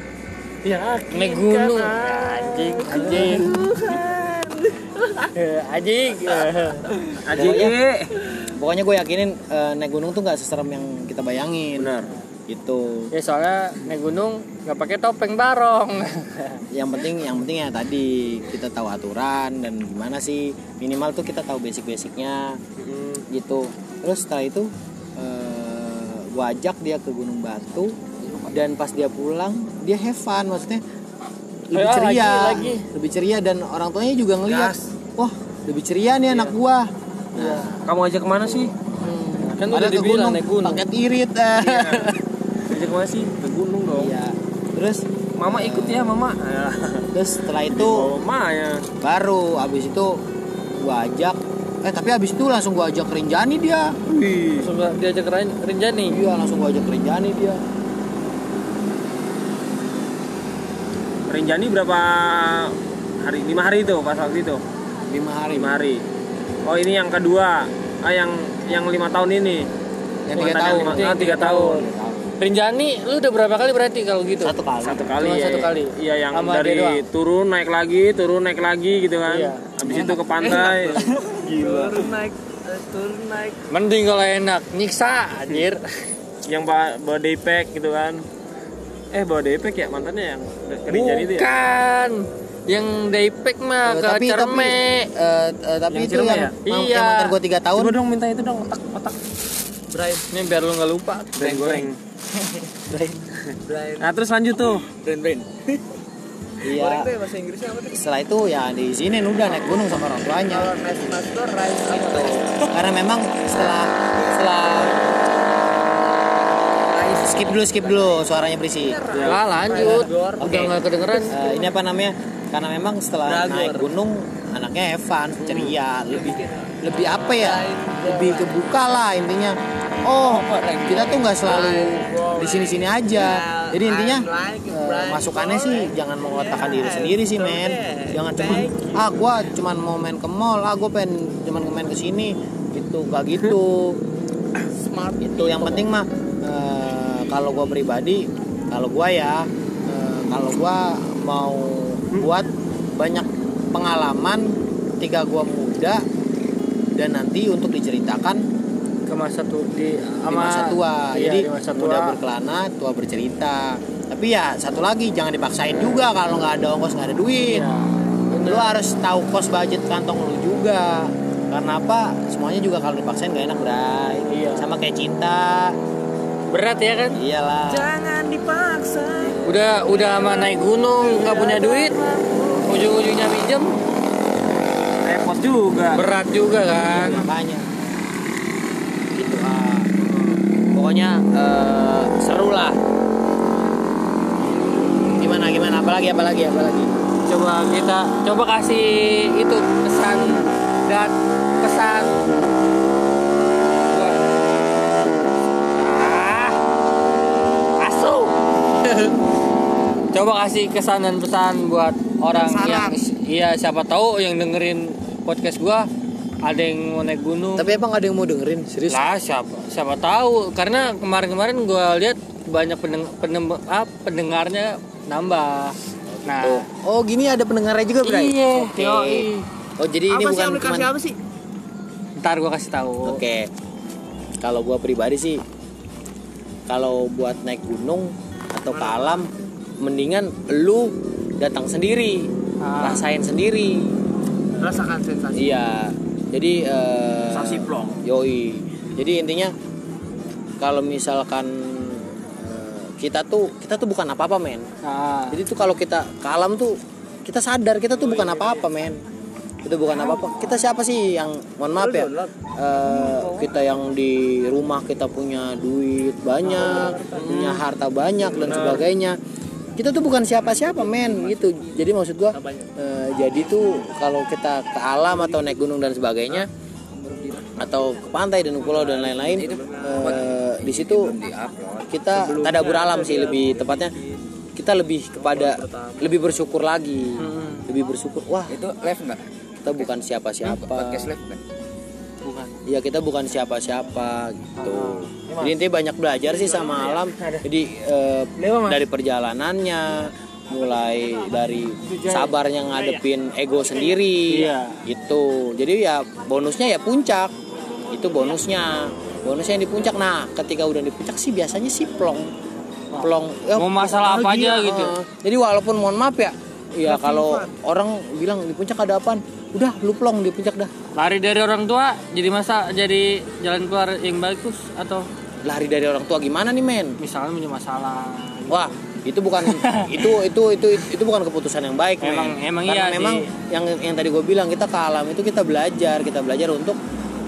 Ya,
naik gunung. Anjing, anjing. Eh, Anjing.
Aji.
pokoknya gue yakinin eh, naik gunung tuh nggak seserem yang kita bayangin
Bener.
gitu
Ya soalnya naik gunung nggak pakai topeng barong.
yang penting yang penting ya tadi kita tahu aturan dan gimana sih minimal tuh kita tahu basic-basicnya
Mm-hmm.
gitu terus setelah itu eh, gua ajak dia ke Gunung Batu dan pas dia pulang dia have fun maksudnya lebih
Ya,
ceria
lagi, lagi.
lebih ceria dan orang tuanya juga ngeliat
Gas.
wah lebih ceria nih
Iya.
anak gua nah,
Kamu ajak kemana sih?
Kan udah
padahal ke gunung,
dibilang naik gunung. Iya.
paket irit eh.
Ajak kemana sih? Ke gunung dong.
Iya. terus
Mama ikut ya, Mama. Oh.
terus setelah itu
Mama ya.
baru abis itu gua ajak eh tapi habis itu langsung gua ajak ke Rinjani dia
Wih.
Langsung gua diajak ke Ren- Rinjani.
iya langsung gua ajak ke Rinjani dia
Rinjani berapa hari? Lima hari itu pas waktu itu.
lima hari
Lima hari. Oh ini yang kedua. Ah yang yang lima tahun ini.
yang
Bukan
tiga
tadi
tahun
yang lima- ah, tiga tahun.
Rinjani lu udah berapa kali berarti kalau gitu?
satu kali
Satu kali
Cuma
ya.
satu kali.
Iya yang
Sama dia
dari
doang.
turun naik lagi, turun naik lagi gitu kan.
Iya.
Habis itu ke pantai. Gila.
Mending kalau enak, nyiksa anjir.
Yang ba- bawa daypack gitu kan. Eh bawa daypack ya mantannya yang ke Rinjani itu ya.
Bukan. Yang Daypek mah
Eh,
ke
tapi tapi
Cerme.
eh, eh, tapi
Yang
itu
Ciremai
yang
ya?
yang
Iya.
mantan gua tiga tahun
Coba dong minta itu dong otak otak
Brian
Ini biar lu nggak lupa.
goreng goreng.
Brian Brian
Nah terus lanjut tuh.
Brain brain. Iya.
bahasa Inggrisnya apa tuh?
Setelah itu ya diizinin udah naik gunung sama orang tuanya. Gitu. Karena memang setelah setelah skip dulu skip dulu suaranya berisik.
Ya, Lah lanjut.
Oke.
Udah nggak kedengeran.
Eh, ini apa namanya? Karena memang setelah naik gunung anaknya Evan ceria lebih lebih apa ya? Lebih kebuka lah intinya. Oh, kita tuh nggak selalu di sini-sini aja. Jadi intinya eh, masukannya sih jangan mengatakan diri sendiri sih, men. Jangan cuma ah gua cuman mau main ke mall, ah gua pengen cuman main ke sini. Gitu, gak gitu. Itu yang penting mah eh, kalau gua pribadi, kalau gua ya eh, kalau gua mau buat banyak pengalaman ketika gua muda dan nanti untuk diceritakan
Ke masa tuh di
di
sama
masa tua.
Iya,
Jadi
di masa tua.
muda berkelana, tua bercerita. Tapi ya satu lagi jangan dipaksain juga kalau nggak ada ongkos nggak ada duit.
Iya.
Lu harus tahu kos budget kantong lu juga. Karena apa? Semuanya juga kalau dipaksain gak enak, Bray.
Iya.
Sama kayak cinta.
Berat ya kan?
Iyalah.
Udah udah sama naik gunung nggak punya duit. Ujung-ujungnya minjem
Repot juga.
berat juga kan.
makanya gitu ah pokoknya eh, seru lah gimana gimana apalagi apalagi apalagi
Coba kita coba kasih itu pesan dan pesan Ah, asu. Coba kasih kesan dan pesan buat orang yang iya siapa tahu yang dengerin podcast gua ada yang mau naik gunung.
tapi emang ada yang mau dengerin serius
lah siapa siapa tahu karena kemarin-kemarin gue lihat banyak pendeng pendem- ah, pendengarnya nambah nah
oh, oh gini ada pendengarnya juga Bray
Iya,
oke
yoi.
oh jadi ini bukan cuman
sih?
ntar gue kasih tahu
oke kalau gua pribadi sih kalau buat naik gunung atau ke alam mendingan lu datang sendiri
Ah.
rasain sendiri
Rasakan sensasi.
Iya. Jadi eh
Sensasi plong.
Yoi. Jadi intinya kalau misalkan eh, kita tuh kita tuh bukan apa-apa men.
nah,
Jadi tuh kalau kita ke alam tuh kita sadar kita tuh bukan apa-apa men. Kita bukan apa-apa. Kita siapa sih yang mohon maaf ya. eh, kita yang di rumah kita punya duit banyak, punya harta banyak dan sebagainya. Kita tuh bukan siapa-siapa men gitu. Jadi maksud gua eh, jadi tuh kalau kita ke alam atau naik gunung dan sebagainya atau ke pantai dan pulau dan lain-lain eh, di situ kita tadabur alam sih lebih tepatnya kita lebih kepada lebih bersyukur lagi lebih bersyukur wah
itu live nggak
kita bukan siapa-siapa
podcast live nggak
bukan
ya kita bukan siapa-siapa gitu
Ah,
jadi intinya banyak belajar sih
Iya,
sama alam jadi eh, dari perjalanannya mulai dari sabarnya ngadepin ego sendiri
Iya.
gitu jadi ya bonusnya ya puncak itu bonusnya bonusnya yang di puncak nah ketika udah di puncak sih biasanya sih plong plong ya,
Mau masalah apa aja
bahagia,
gitu.
eh. jadi walaupun mohon maaf ya ya kalau orang bilang di puncak ada apaan udah lu plong di puncak dah
lari dari orang tua jadi masa jadi jalan keluar yang bagus atau
lari dari orang tua gimana nih men
misalnya punya masalah
wah itu bukan itu itu itu itu bukan keputusan yang baik men.
Emang- emang
Karena
iya
memang
sih.
yang yang tadi gue bilang kita ke alam itu kita belajar kita belajar untuk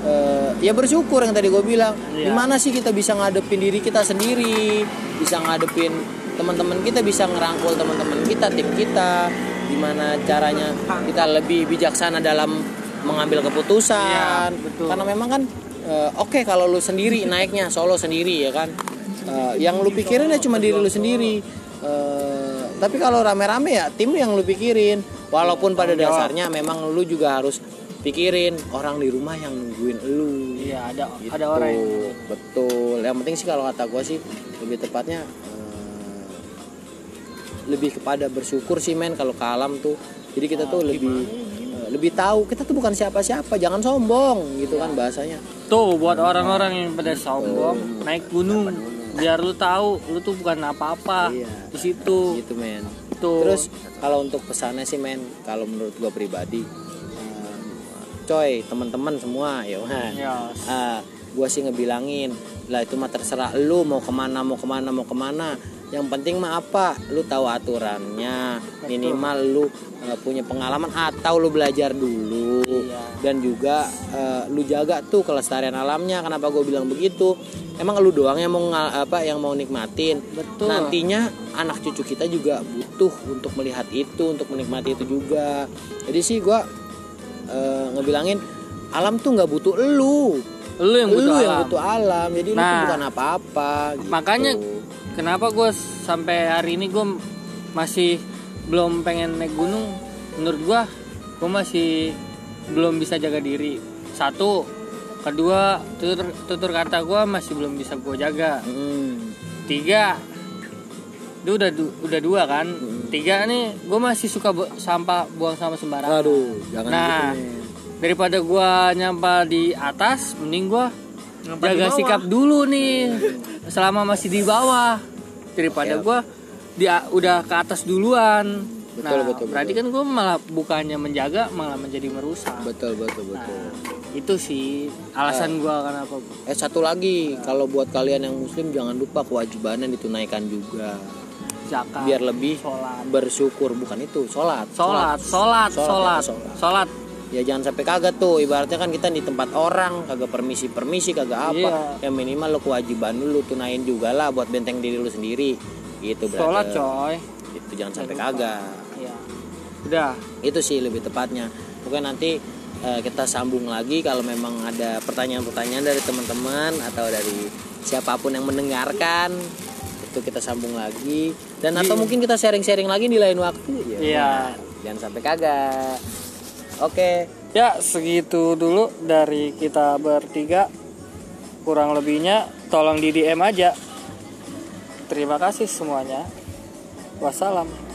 eh, ya bersyukur yang tadi gue bilang
Iya.
gimana sih kita bisa ngadepin diri kita sendiri bisa ngadepin teman-teman kita bisa ngerangkul teman-teman kita tim kita gimana caranya kita lebih bijaksana dalam mengambil keputusan
Iya, betul.
karena memang kan eh, oke kalau lu sendiri naiknya solo sendiri ya kan Eh, yang lu pikirin ya cuma diri lu sendiri Eh, tapi kalau rame-rame ya tim yang lu pikirin walaupun pada dasarnya memang lu juga harus pikirin orang di rumah yang nungguin lu
Iya, ada
Gitu.
ada orang. yang-
betul yang penting sih kalau kata gue sih lebih tepatnya eh, lebih kepada bersyukur sih men kalau ke alam tuh jadi kita
Ah,
tuh lebih eh, lebih tahu kita tuh bukan siapa-siapa jangan sombong gitu
Iya.
kan bahasanya
Tuh buat orang-orang yang pada sombong naik gunung biar lu tahu lu tuh bukan apa-apa
Iya.
di situ.
gitu men
Tuh.
terus kalau untuk pesannya sih men kalau menurut gue pribadi eh, coy teman-teman semua ya Wan.
ya,
gue ah, sih ngebilangin lah itu mah terserah lu mau kemana mau kemana mau kemana yang penting mah apa lu tahu aturannya minimal lu eh, punya pengalaman atau lu belajar dulu dan juga eh, lu jaga tuh kelestarian alamnya kenapa gue bilang begitu emang lu doang yang mau ngal- apa yang mau nikmatin
Betul.
nantinya anak cucu kita juga butuh untuk melihat itu untuk menikmati itu juga jadi sih gue ngebilangin alam tuh nggak butuh lu
lu yang butuh
lu yang
alam.
butuh alam jadi lu tuh
Nah.
bukan apa-apa gitu.
Makanya kenapa gue sampai hari ini gue masih belum pengen naik gunung menurut gue gue masih belum bisa jaga diri satu kedua tutur, tutur kata gue masih belum bisa gue jaga
Hmm,
tiga itu udah du- udah dua kan
Hmm.
tiga nih gue masih suka bu- sampah buang sampah sembarangan
aduh jangan
Nah.
gitu men.
daripada gue nyampah di atas mending gue
Nyampah di
jaga
bawah.
sikap dulu nih
Hmm.
selama masih di bawah daripada
Oke,
gue dia udah ke atas duluan
Betul,
nah
betul,
berarti
betul.
kan gue malah bukannya menjaga malah menjadi merusak
betul betul
nah
betul
itu sih alasan gue kenapa
eh satu lagi kalau buat kalian yang muslim jangan lupa kewajibannya ditunaikan juga
zakat
biar lebih
Nah, sholat
bersyukur bukan itu sholat
sholat sholat sholat
sholat.
sholat
ya jangan sampai kagak tuh ibaratnya kan kita di tempat orang kagak permisi permisi kagak apa
Iya.
ya minimal lo kewajiban lu, lu tunain juga lah buat benteng diri lu sendiri gitu
sholat coy
brother. itu jangan sampai
Jangan lupa.
kagak
ya udah
itu sih lebih tepatnya mungkin nanti eh, kita sambung lagi kalau memang ada pertanyaan-pertanyaan dari teman-teman atau dari siapapun yang mendengarkan itu kita sambung lagi dan atau mungkin kita sharing-sharing lagi di lain waktu Nah,
Iya.
jangan sampai kagak oke
Ya segitu dulu dari kita bertiga Kurang lebihnya tolong di DM aja Terima kasih semuanya Wassalam